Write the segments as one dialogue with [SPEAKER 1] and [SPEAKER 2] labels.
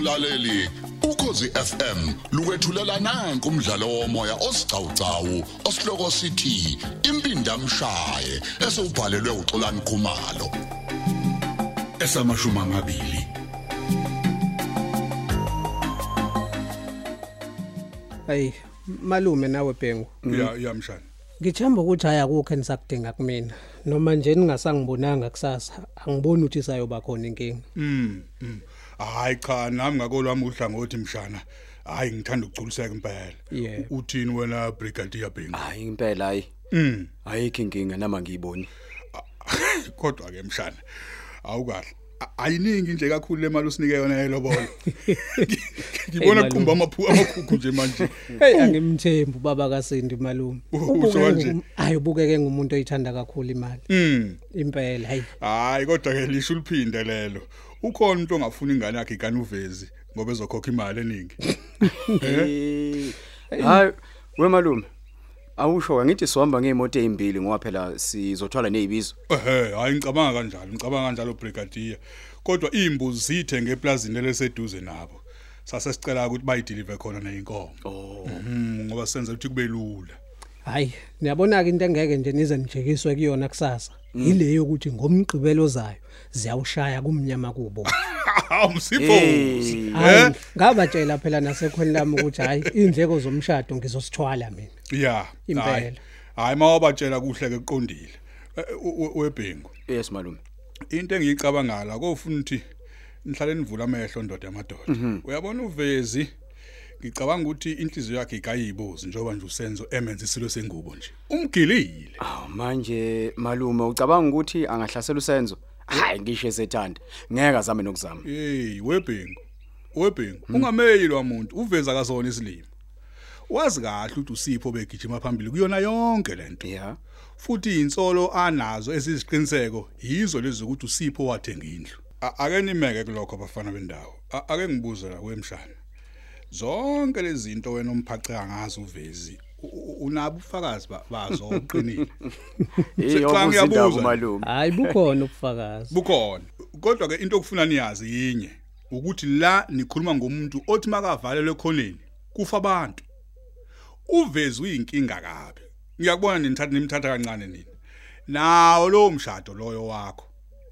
[SPEAKER 1] mlaleli ukhosi FM lukwethulela nanku umdlalo womoya osiqhawqhawo osihloko sithi impinda mshaye esubhalelwe uXolani Khumalo
[SPEAKER 2] esamashumi amabili
[SPEAKER 3] hayi malume nawe bhengu
[SPEAKER 2] ya yamshana
[SPEAKER 3] ngithemba ukuthi haya kukho enisakudinga kumina noma nje ningasangibonanga kusasa angiboni ukuthi sayoba khona inkinga
[SPEAKER 2] mm mm. hayi cha nami ngakolwami uhlangothi mshana hayi ngithanda ukuculiseka impela
[SPEAKER 3] Yeah.
[SPEAKER 2] U- uthini wena brigadier Bhengu
[SPEAKER 4] hayi impela hayi
[SPEAKER 2] mm
[SPEAKER 4] ayikho inkinga nama ngiyiboni
[SPEAKER 2] kodwa ke mshana awukahle A- ayiningi nje kakhulu le mali usinike yona yelobolo ngibona
[SPEAKER 3] Hey,
[SPEAKER 2] qhumba amaphu amakhukhu nje manje
[SPEAKER 3] hey angimthembi ubaba kaSindi malume
[SPEAKER 2] Usho kanje?
[SPEAKER 3] hayi ubukeke ngumuntu oyithanda kakhulu imali
[SPEAKER 2] mm
[SPEAKER 3] impela hayi
[SPEAKER 2] hayi kodwa ke lisho uliphinde lelo ukhona umuntu ongafuna ingane yakhe ikanuvezi ngoba ezokhokha imali eningi
[SPEAKER 4] Eh, hayi wemalume awusho ngithi sihamba ngeemoto ezimbili ngoba phela sizothwala nezibizo
[SPEAKER 2] ehe hayi ngicabanga kanjalo ngicabanga kanjalo brigadier kodwa imbuzi zithe ngeplazini leseduze nabo sase sicela ukuthi bayideliver khona neinkomo
[SPEAKER 4] oh
[SPEAKER 2] Mhm, ngoba senze ukuthi kube lula
[SPEAKER 3] hayi niyabonaka into engeke nje nize nijekiswe kuyona kusasa ile yokuthi ngomgqibelo zayo ziyawushaya kumnyama kubo
[SPEAKER 2] umsiphozi
[SPEAKER 3] hayi
[SPEAKER 2] eh
[SPEAKER 3] ngabatshela phela nasekhoni lami ukuthi hayi indleko zomshado ngizosithwala mina
[SPEAKER 2] ya
[SPEAKER 3] Impela.
[SPEAKER 2] hayi. hayi mawabatshela kuhle ke kuqondile Eh, u- u- webhengu
[SPEAKER 4] yes malume
[SPEAKER 2] into engiyicabangala kofuna ukuthi nihlale nivula amehlo ndoda yamadoda uyabona uvezi ngicabanga ukuthi inhliziyo yakhe igayibuzi njengoba nje usenzo emenza isilo sengubo nje umgilile
[SPEAKER 4] aw manje malume ucabanga ukuthi angahlasela usenzo hayi ngisho esethanda ngeke azame nokuzama
[SPEAKER 2] hey webhengu webhengu ungameyili wamuntu uveza kazona isilimo wazi kahle ukuthi usipho begijima phambili kuyona yonke lento
[SPEAKER 4] yeah
[SPEAKER 2] futhi insolo anazo eziziqiniseko yizo lezi ukuthi usipho wathenga indlu A- ake nimeke kulokho abafana bendawo A- ake ngibuze la kwemshana zonke lezi zinto wena umphaca ngazo uvezi u- u- unabo ufakazi ba- bazo uqinile
[SPEAKER 4] hey
[SPEAKER 2] Cha,
[SPEAKER 4] yobuza indaba
[SPEAKER 2] ngiyabuza.
[SPEAKER 4] malume
[SPEAKER 3] hayi bukhona ubufakazi
[SPEAKER 2] bukhona kodwa ke into okufuna niyazi yinye ukuthi la nikhuluma ngomuntu othi makavalelwe khoneni kufa abantu uvezi uyinkinga kabi ngiyakubona ninithatha nimthatha kancane nina nawo lowo mshado loyo wakho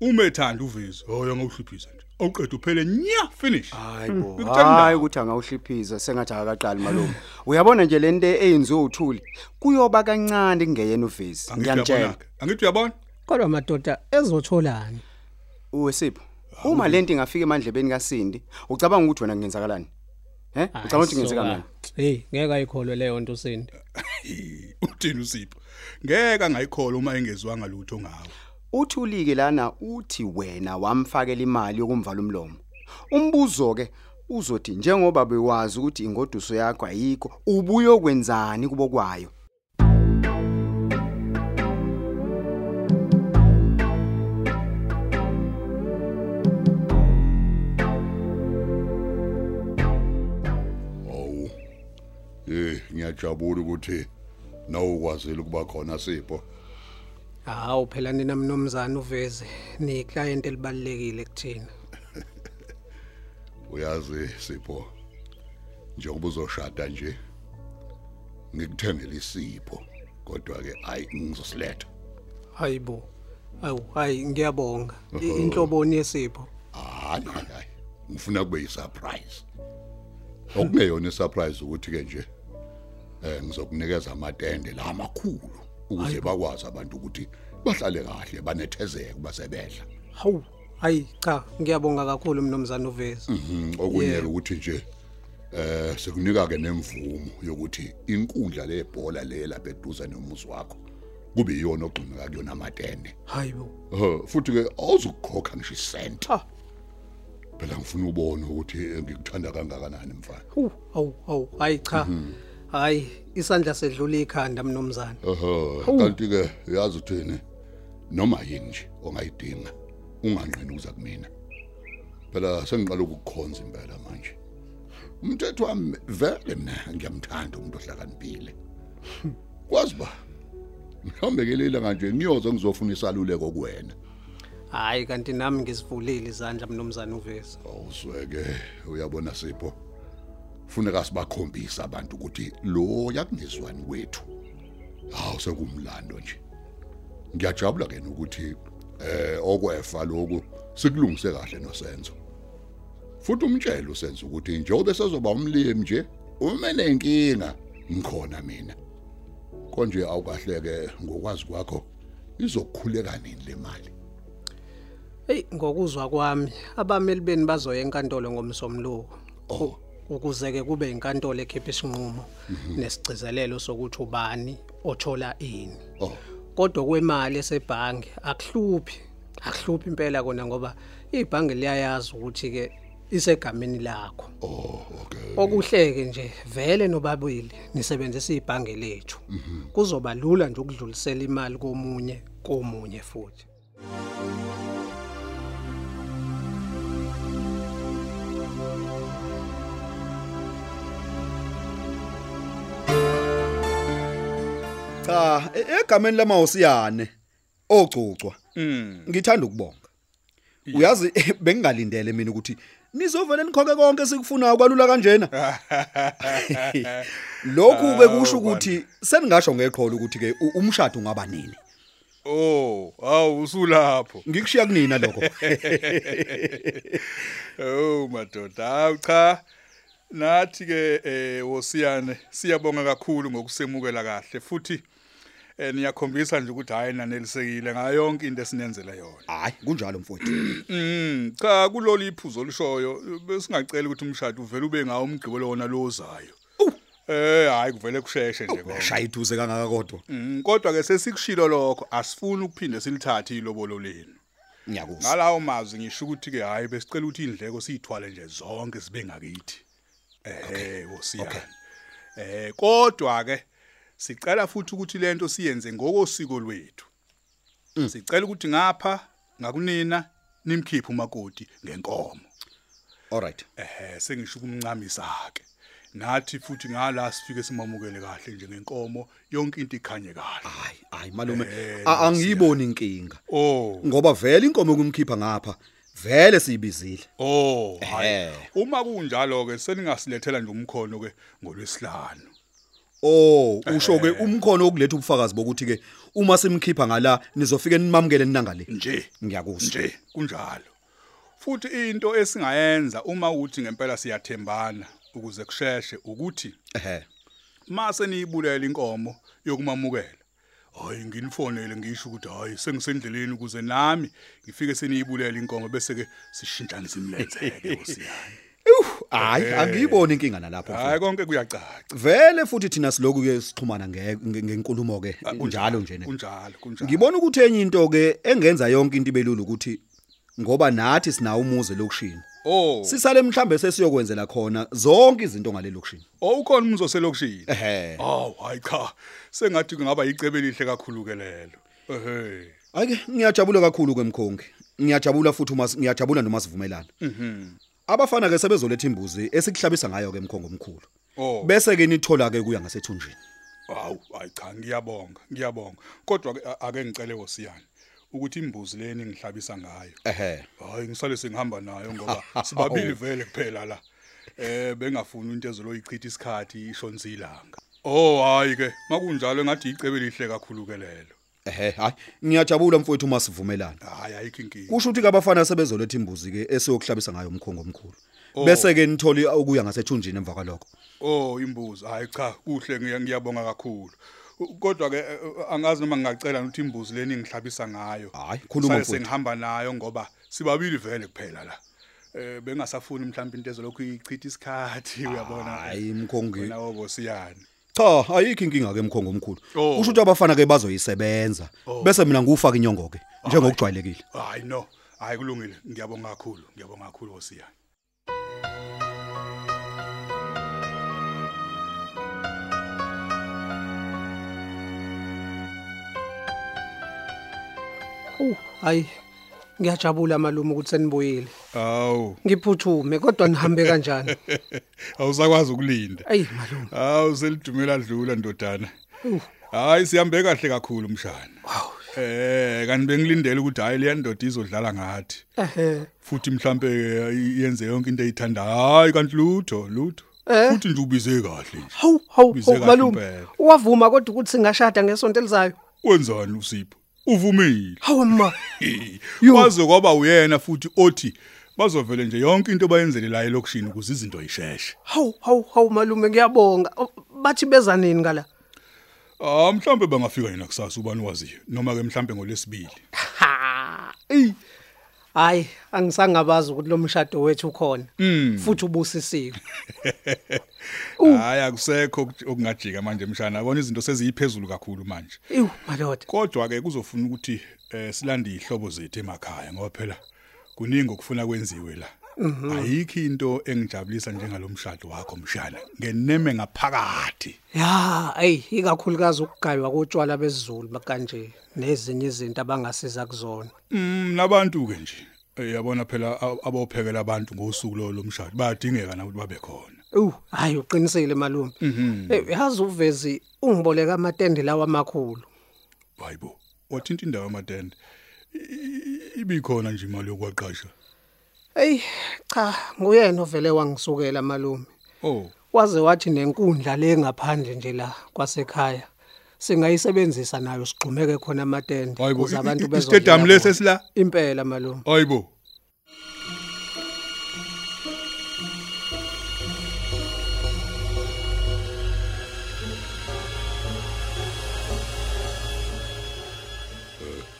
[SPEAKER 2] umethanda uvezi hoyo ngawuhliphisa nje awuqeda uphele nya finish
[SPEAKER 4] Hayibo,
[SPEAKER 2] Mm. Ngikuthanda.
[SPEAKER 4] hayi ukuthi angawuhliphiza sengathi akaqali malume. Uyabona nje lento eyenziwe uthuli kuyoba kancane kungeyena uvezi.
[SPEAKER 2] Angithi uyabona
[SPEAKER 4] Ngiyamtshela.
[SPEAKER 2] ke? angithi uyabona
[SPEAKER 3] kodwa madoda ezotholani
[SPEAKER 4] Ah, Uwesipho. Uma lento ingafika emandlebeni kaSindi, ucabanga ukuthi wena kungenzakalani? He? Ucabanga ukuthi kungenzeka mina?
[SPEAKER 3] hey ngeke ayikholwe leyo nto sindi
[SPEAKER 2] uthini usipho ngeke angayikhola uma engezwanga lutho ngawo
[SPEAKER 4] Uthuli ke lana uthi wena wamfakela imali yokumvala umlomo. Umbuzo ke uzothi njengoba bewazi ukuthi ingoduso yakho ayikho, ubuye okwenzani kubo kwayo?
[SPEAKER 1] awu eh ngiyajabula ukuthi nawukwazile ukuba khona sipho
[SPEAKER 3] hawu phela nina mnomzana uveze ni client elibalekile kuthina
[SPEAKER 1] uyazi sipho njengoba uzoshada nje ngikuthengele isipho kodwa ke ayi ngizosiletha
[SPEAKER 3] hayibo awu hayi ngiyabonga I- inhloboni yesipho
[SPEAKER 1] hayi hayi, hayi ngifuna kube yisurprise okungeyona isurprise ukuthi ke nje eh ngizokunikeza amatende la amakhulu ukuze bakwazi abantu ukuthi bahlale kahle banethezeke basebedla
[SPEAKER 3] hawu hayi cha ngiyabonga kakhulu mnomzana uveze
[SPEAKER 4] Mm.
[SPEAKER 1] Mhm, okunye
[SPEAKER 3] Yeah.
[SPEAKER 1] ukuthi nje eh sikunika ke nemvumo yokuthi inkundla lebhola le lapha eduze nomuzi wakho kube iyona ogxumeka kuyona amatende
[SPEAKER 3] hayibo
[SPEAKER 1] Eh, futhi ke awuzukukhokha ngisho isenti
[SPEAKER 3] ha
[SPEAKER 1] phela ngifuna ubone ukuthi eh, ngikuthanda kangakanani mfana
[SPEAKER 3] hu awu awu hayi cha
[SPEAKER 4] Mhm.
[SPEAKER 3] hayi isandla sedlula ikhanda mnomzana
[SPEAKER 4] Oh.
[SPEAKER 1] Aha,
[SPEAKER 3] Hawu.
[SPEAKER 1] kanti ke uyazi uthini? Noma yini nje ongayidinga, unganqini ukuza kumina. Phela sengiqala ukukhonza impela manje. Umthetho wami vele mina ngiyamthanda umuntu ohlakaniphile. Kwazi ba? Mhlambe ke lela kanje ngiyoze ngizofuna isaluleko kuwena.
[SPEAKER 3] hayi kanti nami ngizivulile izandla mnumzane uvezi
[SPEAKER 1] awuzweke Oh, uyabona sipho funeka sibakhombise abantu ukuthi lo yakungezwani wethu hawu sekumlando nje ngiyajabula ke nokuthi eh okwefa lokhu sikulungise kahle nosenzo futhi umtshelo senzo ukuthi njengoba sezoba umlimi nje uma nenkinga ngikhona mina konje awukahleke ngokwazi kwakho izokukhuleka nini le mali
[SPEAKER 3] Hey ngokuzwa kwami abameli beni bazoya enkantolo ngomsomluko.
[SPEAKER 1] Oh.
[SPEAKER 3] U- Ukuze ke kube inkantolo ekhipha isinqumo nesigcizelelo sokuthi ubani othola ini.
[SPEAKER 1] oh
[SPEAKER 3] Kodwa kwemali esebhange akuhluphi. Akuhluphi impela kona ngoba ibhange liyayazi ukuthi ke isegameni lakho.
[SPEAKER 1] oh okay
[SPEAKER 3] Okuhleke nje vele nobabili nisebenzisa ibhange lethu. Kuzoba lula nje ukudlulisela imali komunye komunye futhi.
[SPEAKER 4] Cha, e- egameni lamawosiyane ogcucwa.
[SPEAKER 2] Hmm.
[SPEAKER 4] Ngithanda ukubonga. Uyazi bengingalindele mina ukuthi nizovela nikhokhe konke sikufuna ukwalula kanjena. Lokhu ke kusho ukuthi seningasho ngeqholo ukuthi ke u- umshado ungaba nini.
[SPEAKER 2] Oh, awu usulapho.
[SPEAKER 4] Ngikushiya kunina lokho.
[SPEAKER 2] Oh madoda, awu cha. Nathi ke eh wosiyane siyabonga kakhulu ngokusemukela kahle futhi eh niyakhombisa nje ukuthi hayi nanelisekile ngayo yonke into esinenzele yona.
[SPEAKER 4] Hayi kunjalo mfowethu.
[SPEAKER 2] Mm, cha kulolu iphuzo olishoyo besingacela ukuthi umshado uvele ube ngawo umgqibelo wona lozayo. Eh hayi kuvele kusheshe nje konke.
[SPEAKER 4] Shaya ithuze kangaka kodwa.
[SPEAKER 2] Mm, kodwa ke sesikushilo lokho asifuni ukuphinde silithathe ilobolo lenu.
[SPEAKER 4] Ngiyakuzwa.
[SPEAKER 2] Ngalawo mazwi ngisho ukuthi ke hayi besicela ukuthi indleko siyithwale nje zonke sibe ngakithi. Eh, wosiyana. Eh, kodwa ke sicela futhi ukuthi lento siyenze ngokosiko lwethu. Sicela ukuthi ngapha ngakunina nimkhiphe umakoti ngenkomo.
[SPEAKER 4] All right.
[SPEAKER 2] Eh, sengisho ukumncamisa ke. Nathi futhi ngala sifike simamukele kahle nje ngenkomo yonke into ikhanye kahle.
[SPEAKER 4] Hayi, hayi malume
[SPEAKER 2] Eh,
[SPEAKER 4] a- angiyiboni inkinga.
[SPEAKER 2] Oh.
[SPEAKER 4] Ngoba vele inkomo kumkhipha ngapha. Vele siyibizile.
[SPEAKER 2] Oh, hayi.
[SPEAKER 4] Ehhe.
[SPEAKER 2] Uma kunjalo ke seningasilethela nje umkhono ke ngolwesihlanu.
[SPEAKER 4] Oh, usho
[SPEAKER 2] Eh.
[SPEAKER 4] ke umkhono okuletha ubufakazi bokuthi ke uma simkhipha ngala nizofike nimamukele ninangale.
[SPEAKER 2] Nje.
[SPEAKER 4] Ngiyakuzwa.
[SPEAKER 2] Nje kunjalo. Futhi into esingayenza uma uthi ngempela siyathembana ukuze kusheshe ukuthi
[SPEAKER 4] Ehhe.
[SPEAKER 2] mase niyibulela inkomo yokumamukela. Hayi nginifonele ngisho ukuthi hayi sengisendleleni ukuze nami ngifike seniyibulela inkomo bese ke sishintshane simlenzeke usiyani.
[SPEAKER 4] Hayi, angiyiboni inkinga nalapho.
[SPEAKER 2] Hayi
[SPEAKER 4] mfowethu.
[SPEAKER 2] konke kuyacaca.
[SPEAKER 4] Vele futhi thina siloku ke sixhumana nge- nge- ngenkulumo ke njalo nje ne.
[SPEAKER 2] Kunjalo kunjalo.
[SPEAKER 4] Ngibona ukuthi enye into ke engenza yonke into ibelula ukuthi ngoba nathi sina umuze lokushini.
[SPEAKER 2] Oh.
[SPEAKER 4] Sisale mhlambe sesiyokwenzela khona zonke izinto ngale lokushini.
[SPEAKER 2] Awukhona umzoselokushini.
[SPEAKER 4] Ehhe.
[SPEAKER 2] Aw, hayi cha. Sengathi kungaba icebe elihle kakhulu ke lelo. Ehhe.
[SPEAKER 4] Ake ngiyajabula kakhulu kwemkhongi. Ngiyajabula futhi uma ngiyajabula noma sivumelana. Mhm. Abafana ke sebezoletha imbuzi esikuhlabisa ngayo ke emkhongo omkhulu.
[SPEAKER 2] Oh.
[SPEAKER 4] Bese ke nithola ke kuya ngasethunjini.
[SPEAKER 2] Aw, hayi cha, ngiyabonga, ngiyabonga. Kodwa ke a- ake ngicele wosiyani ukuthi imbuzi leni ngihlabisa ngayo.
[SPEAKER 4] Ehhe.
[SPEAKER 2] Hayi ngisale sengihamba nayo ngoba sibabili vele kuphela la. Eh bengafuni into ezoloyichitha isikhathi ishonisa ilanga. Oh hayi ke, makunjalo ngathi icebe elihle kakhulu ke lelo.
[SPEAKER 4] Ehhe, hayi ngiyajabula mfowethu uma sivumelana.
[SPEAKER 2] Hayi ayikho inkingi.
[SPEAKER 4] Kusho ukuthi ke abafana sebezoletha imbuzi ke esiyokuhlabisa ngayo emkhongo omkhulu. Bese ke nithola ukuya ngasethunjini emva kwalokho.
[SPEAKER 2] Oh imbuzi, hayi cha, kuhle ngiya- ngiyabonga kakhulu. U- Kodwa ke eh, eh, angazi noma ngingacela ukuthi imbuzi leni ngihlabisa ngayo.
[SPEAKER 4] Hayi, Ah, khuluma
[SPEAKER 2] Sale
[SPEAKER 4] mfowethu.
[SPEAKER 2] sengihamba nayo ngoba sibabili vele kuphela la. Eh bengasafuni mhlawumbe into ezolokhu ichitha isikhathi uyabona.
[SPEAKER 4] Hayi, mkhongi.
[SPEAKER 2] Wena oh, wobosiyani.
[SPEAKER 4] Cha, ayikho inkinga ke emkhongo omkhulu.
[SPEAKER 2] Oh.
[SPEAKER 4] Kusho ukuthi abafana ke bazoyisebenza. Bese mina ngufaka inyongo ke njengokujwayelekile.
[SPEAKER 2] Hayi no, hayi kulungile. Ngiyabonga kakhulu. Ngiyabonga kakhulu wosiyani.
[SPEAKER 3] Uh, hayi. Ngiyajabula malume ukuthi senibuyile.
[SPEAKER 2] Awu,
[SPEAKER 3] Ngiphuthume kodwa nihambe kanjani?
[SPEAKER 2] awusakwazi ukulinda.
[SPEAKER 3] Ey malume.
[SPEAKER 2] Hawu selidumela dlula ndodana. Hayi sihambe kahle kakhulu mshana.
[SPEAKER 3] Haw,
[SPEAKER 2] Eh kanti bengilindele ukuthi hayi le ndoda izodlala ngathi.
[SPEAKER 3] Ehhe.
[SPEAKER 2] Futhi mhlambe yenze yonke into eyithanda. Hayi kanti lutho, lutho. Futhi nje ubize kahle nje.
[SPEAKER 3] Hawu hawu
[SPEAKER 2] Bize
[SPEAKER 3] hawu,
[SPEAKER 2] kahle
[SPEAKER 3] malume.
[SPEAKER 2] impela.
[SPEAKER 3] Uwavuma kodwa ukuthi singashada ngesonto elizayo.
[SPEAKER 2] Wenzani uSipho? Uvumile.
[SPEAKER 3] Hawu ma. Yo.
[SPEAKER 2] Kwaze kwaba uyena futhi othi bazovele nje yonke into bayenzele la elokushini ukuze izinto yisheshe.
[SPEAKER 3] Hawu hawu hawu malume ngiyabonga. Oh, Bathi beza nini ngala?
[SPEAKER 2] Ah mhlambe bangafika yena kusasa ubani waziyo noma ke mhlambe ngolesibili.
[SPEAKER 3] Ha. Ey. Hayi, angisangabazi ukuthi lo mshado wethu ukhona.
[SPEAKER 2] Hmm.
[SPEAKER 3] Futhi ubusisiwe.
[SPEAKER 2] Hayi akusekho ok- okungajika manje mshana. Yabona izinto seziyiphezulu kakhulu manje.
[SPEAKER 3] Ew, madoda.
[SPEAKER 2] Kodwa ke kuzofuna ukuthi eh silande ihlobo zethu emakhaya ngoba phela kuningi okufuna kwenziwe la.
[SPEAKER 3] Mhm.
[SPEAKER 2] Ayikho into engijabulisa njengalomshado wakho mshana. Ngeneme ngaphakathi.
[SPEAKER 3] Ya, hey, ikakhulukazi ukugaywa kotshwala besizulu bakanje nezinye izinto abangasiza kuzona.
[SPEAKER 2] Mm nabantu ke nje. Eh, Yabona phela a- abophekela abantu ngosuku lo lomshado bayadingeka nakuthi babe khona.
[SPEAKER 3] Uh, hayi uqinisile malume.
[SPEAKER 2] Mhm.
[SPEAKER 3] Eh, yazi uvezi ungiboleka amatende lawa amakhulu.
[SPEAKER 2] Hayibo. Wathinta indawo yamatende. I- i- Ibikhona nje imali yokwaqasha.
[SPEAKER 3] Hey, cha, nguyena ovele wangisukela malume.
[SPEAKER 2] Oh.
[SPEAKER 3] Waze wathi nenkundla le ngaphandle nje la kwasekhaya. Singayisebenzisa nayo sigxumeke khona amatende
[SPEAKER 2] Hayibo,
[SPEAKER 3] ukuze
[SPEAKER 2] i- i-
[SPEAKER 3] abantu
[SPEAKER 2] i-
[SPEAKER 3] bezodla.
[SPEAKER 2] stadium lesi
[SPEAKER 3] kuwo.
[SPEAKER 2] esila?
[SPEAKER 3] impela malume.
[SPEAKER 2] Hayibo.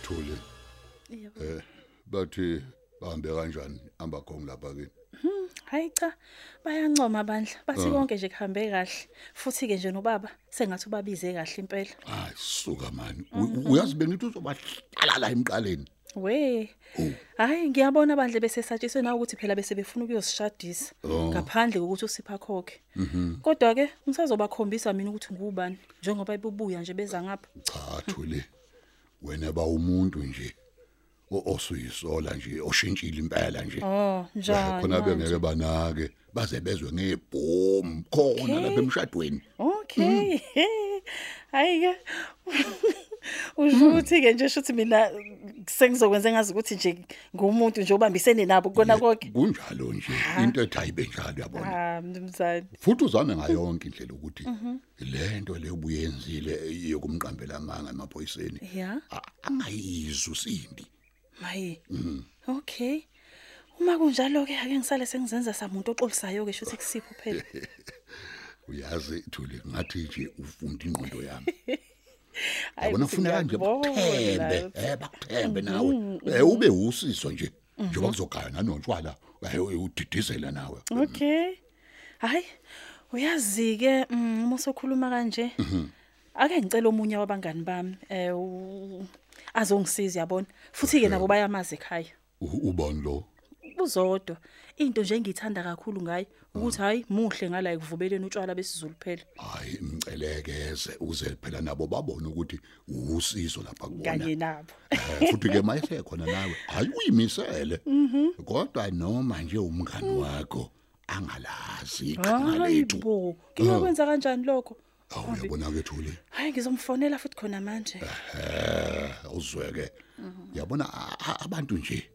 [SPEAKER 1] Thuli. Eh bathi bahambe kanjani amba khongi lapha kini?
[SPEAKER 5] hayi cha bayancoma bandla bathi konke nje kuhambe kahle futhi ke nje nobaba sengathi ubabize kahle impela
[SPEAKER 1] Hayi suka mani. U- Uyazi bengithi uzobahlala la emqaleni.
[SPEAKER 5] we hayi ngiyabona bandla besesatshiswe na ukuthi phela bese befuna ukuyosishadisa ngaphandle kokuthi usipha khokhe kodwa ke ngisazobakhombisa mina ukuthi ngubani njengoba ibubuya nje beza ngapha
[SPEAKER 1] Cha Thuli. Wena ba umuntu nje o- osuyisola nje oshintshile impela nje. Eh,
[SPEAKER 5] oh njani
[SPEAKER 1] khona
[SPEAKER 5] manje?
[SPEAKER 1] bengeke banake baze bezwe ngebhomu khona lapha emshadweni
[SPEAKER 5] okay hayi-ke usho ukuthi-ke nje shuthi mina sengizokwenza engazi ukuthi nje ngumuntu nje ubambisene nabo kona konke
[SPEAKER 1] kunjalo nje into ethi ayibe njalo yabona
[SPEAKER 5] Ah, Mhm. mnumzane
[SPEAKER 1] futhi uzame ngayo yonke indlela ukuthi le nto le ubuye yenzile yokumqambela amanga emaphoyiseni
[SPEAKER 5] ya
[SPEAKER 1] a- angayizwa usimbi
[SPEAKER 5] maye
[SPEAKER 1] Mhm.
[SPEAKER 5] okay uma kunjalo-ke ake ngisale sengizenza samuntu oxolisayo-ke shuthi kusipho phela
[SPEAKER 1] Eh, uyazi thule ngathi nje ufunda ingqondo yami
[SPEAKER 5] Hhayi,
[SPEAKER 1] yabona
[SPEAKER 5] futhi
[SPEAKER 1] ufuna kanje
[SPEAKER 5] ngiyakubona.
[SPEAKER 1] bakuthembe um bakuthembe nawe um ube usiso nje njengoba kuzogaya nanontshwala eh, udidizela nawe
[SPEAKER 5] okay hhayi uyazi-ke mm, uma usokhuluma kanje
[SPEAKER 1] Mhm.
[SPEAKER 5] ake ngicela omunye wabangani bami um azongisiza yabona futhi-ke nabo bayamazi ekhaya
[SPEAKER 1] U- ubani lo
[SPEAKER 5] uzodwa into nje engiyithanda kakhulu ngaye ukuthi
[SPEAKER 1] Mhm.
[SPEAKER 5] hayi muhle ngala ekuvubeleni utshwala besizulu phela
[SPEAKER 1] hayi mcelekeze uze phela nabo babone ukuthi usizo lapha kubona
[SPEAKER 5] kanye nabo
[SPEAKER 1] Eh, futhi ke mayise khona nawe hayi uyimisele kodwa noma nje umngani wakho angalazi iqhinga lethu
[SPEAKER 5] hayibo ngiyokwenza kanjani lokho
[SPEAKER 1] awu uyabona ke thule
[SPEAKER 5] hhayi ngizomfonela futhi khona manje
[SPEAKER 1] eh uzweke yabona a- a- abantu nje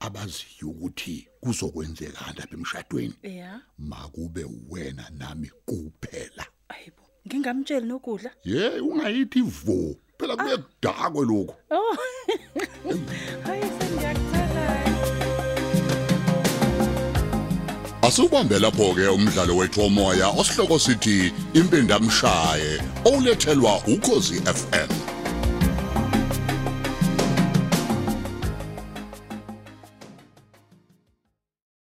[SPEAKER 1] abaziyo ukuthi kuzokwenzeka lapha emshadweni
[SPEAKER 5] ya
[SPEAKER 1] makube wena nami kuphela
[SPEAKER 5] hayibo ngingamtsheli nokudla
[SPEAKER 1] ye ungayithi vo phela kube dakwe lokho
[SPEAKER 5] oh hayi sengiyakuthanda
[SPEAKER 1] Asubambe lapho ke umdlalo wethu womoya osihloko sithi impindamshaye olethelwa ukozi FM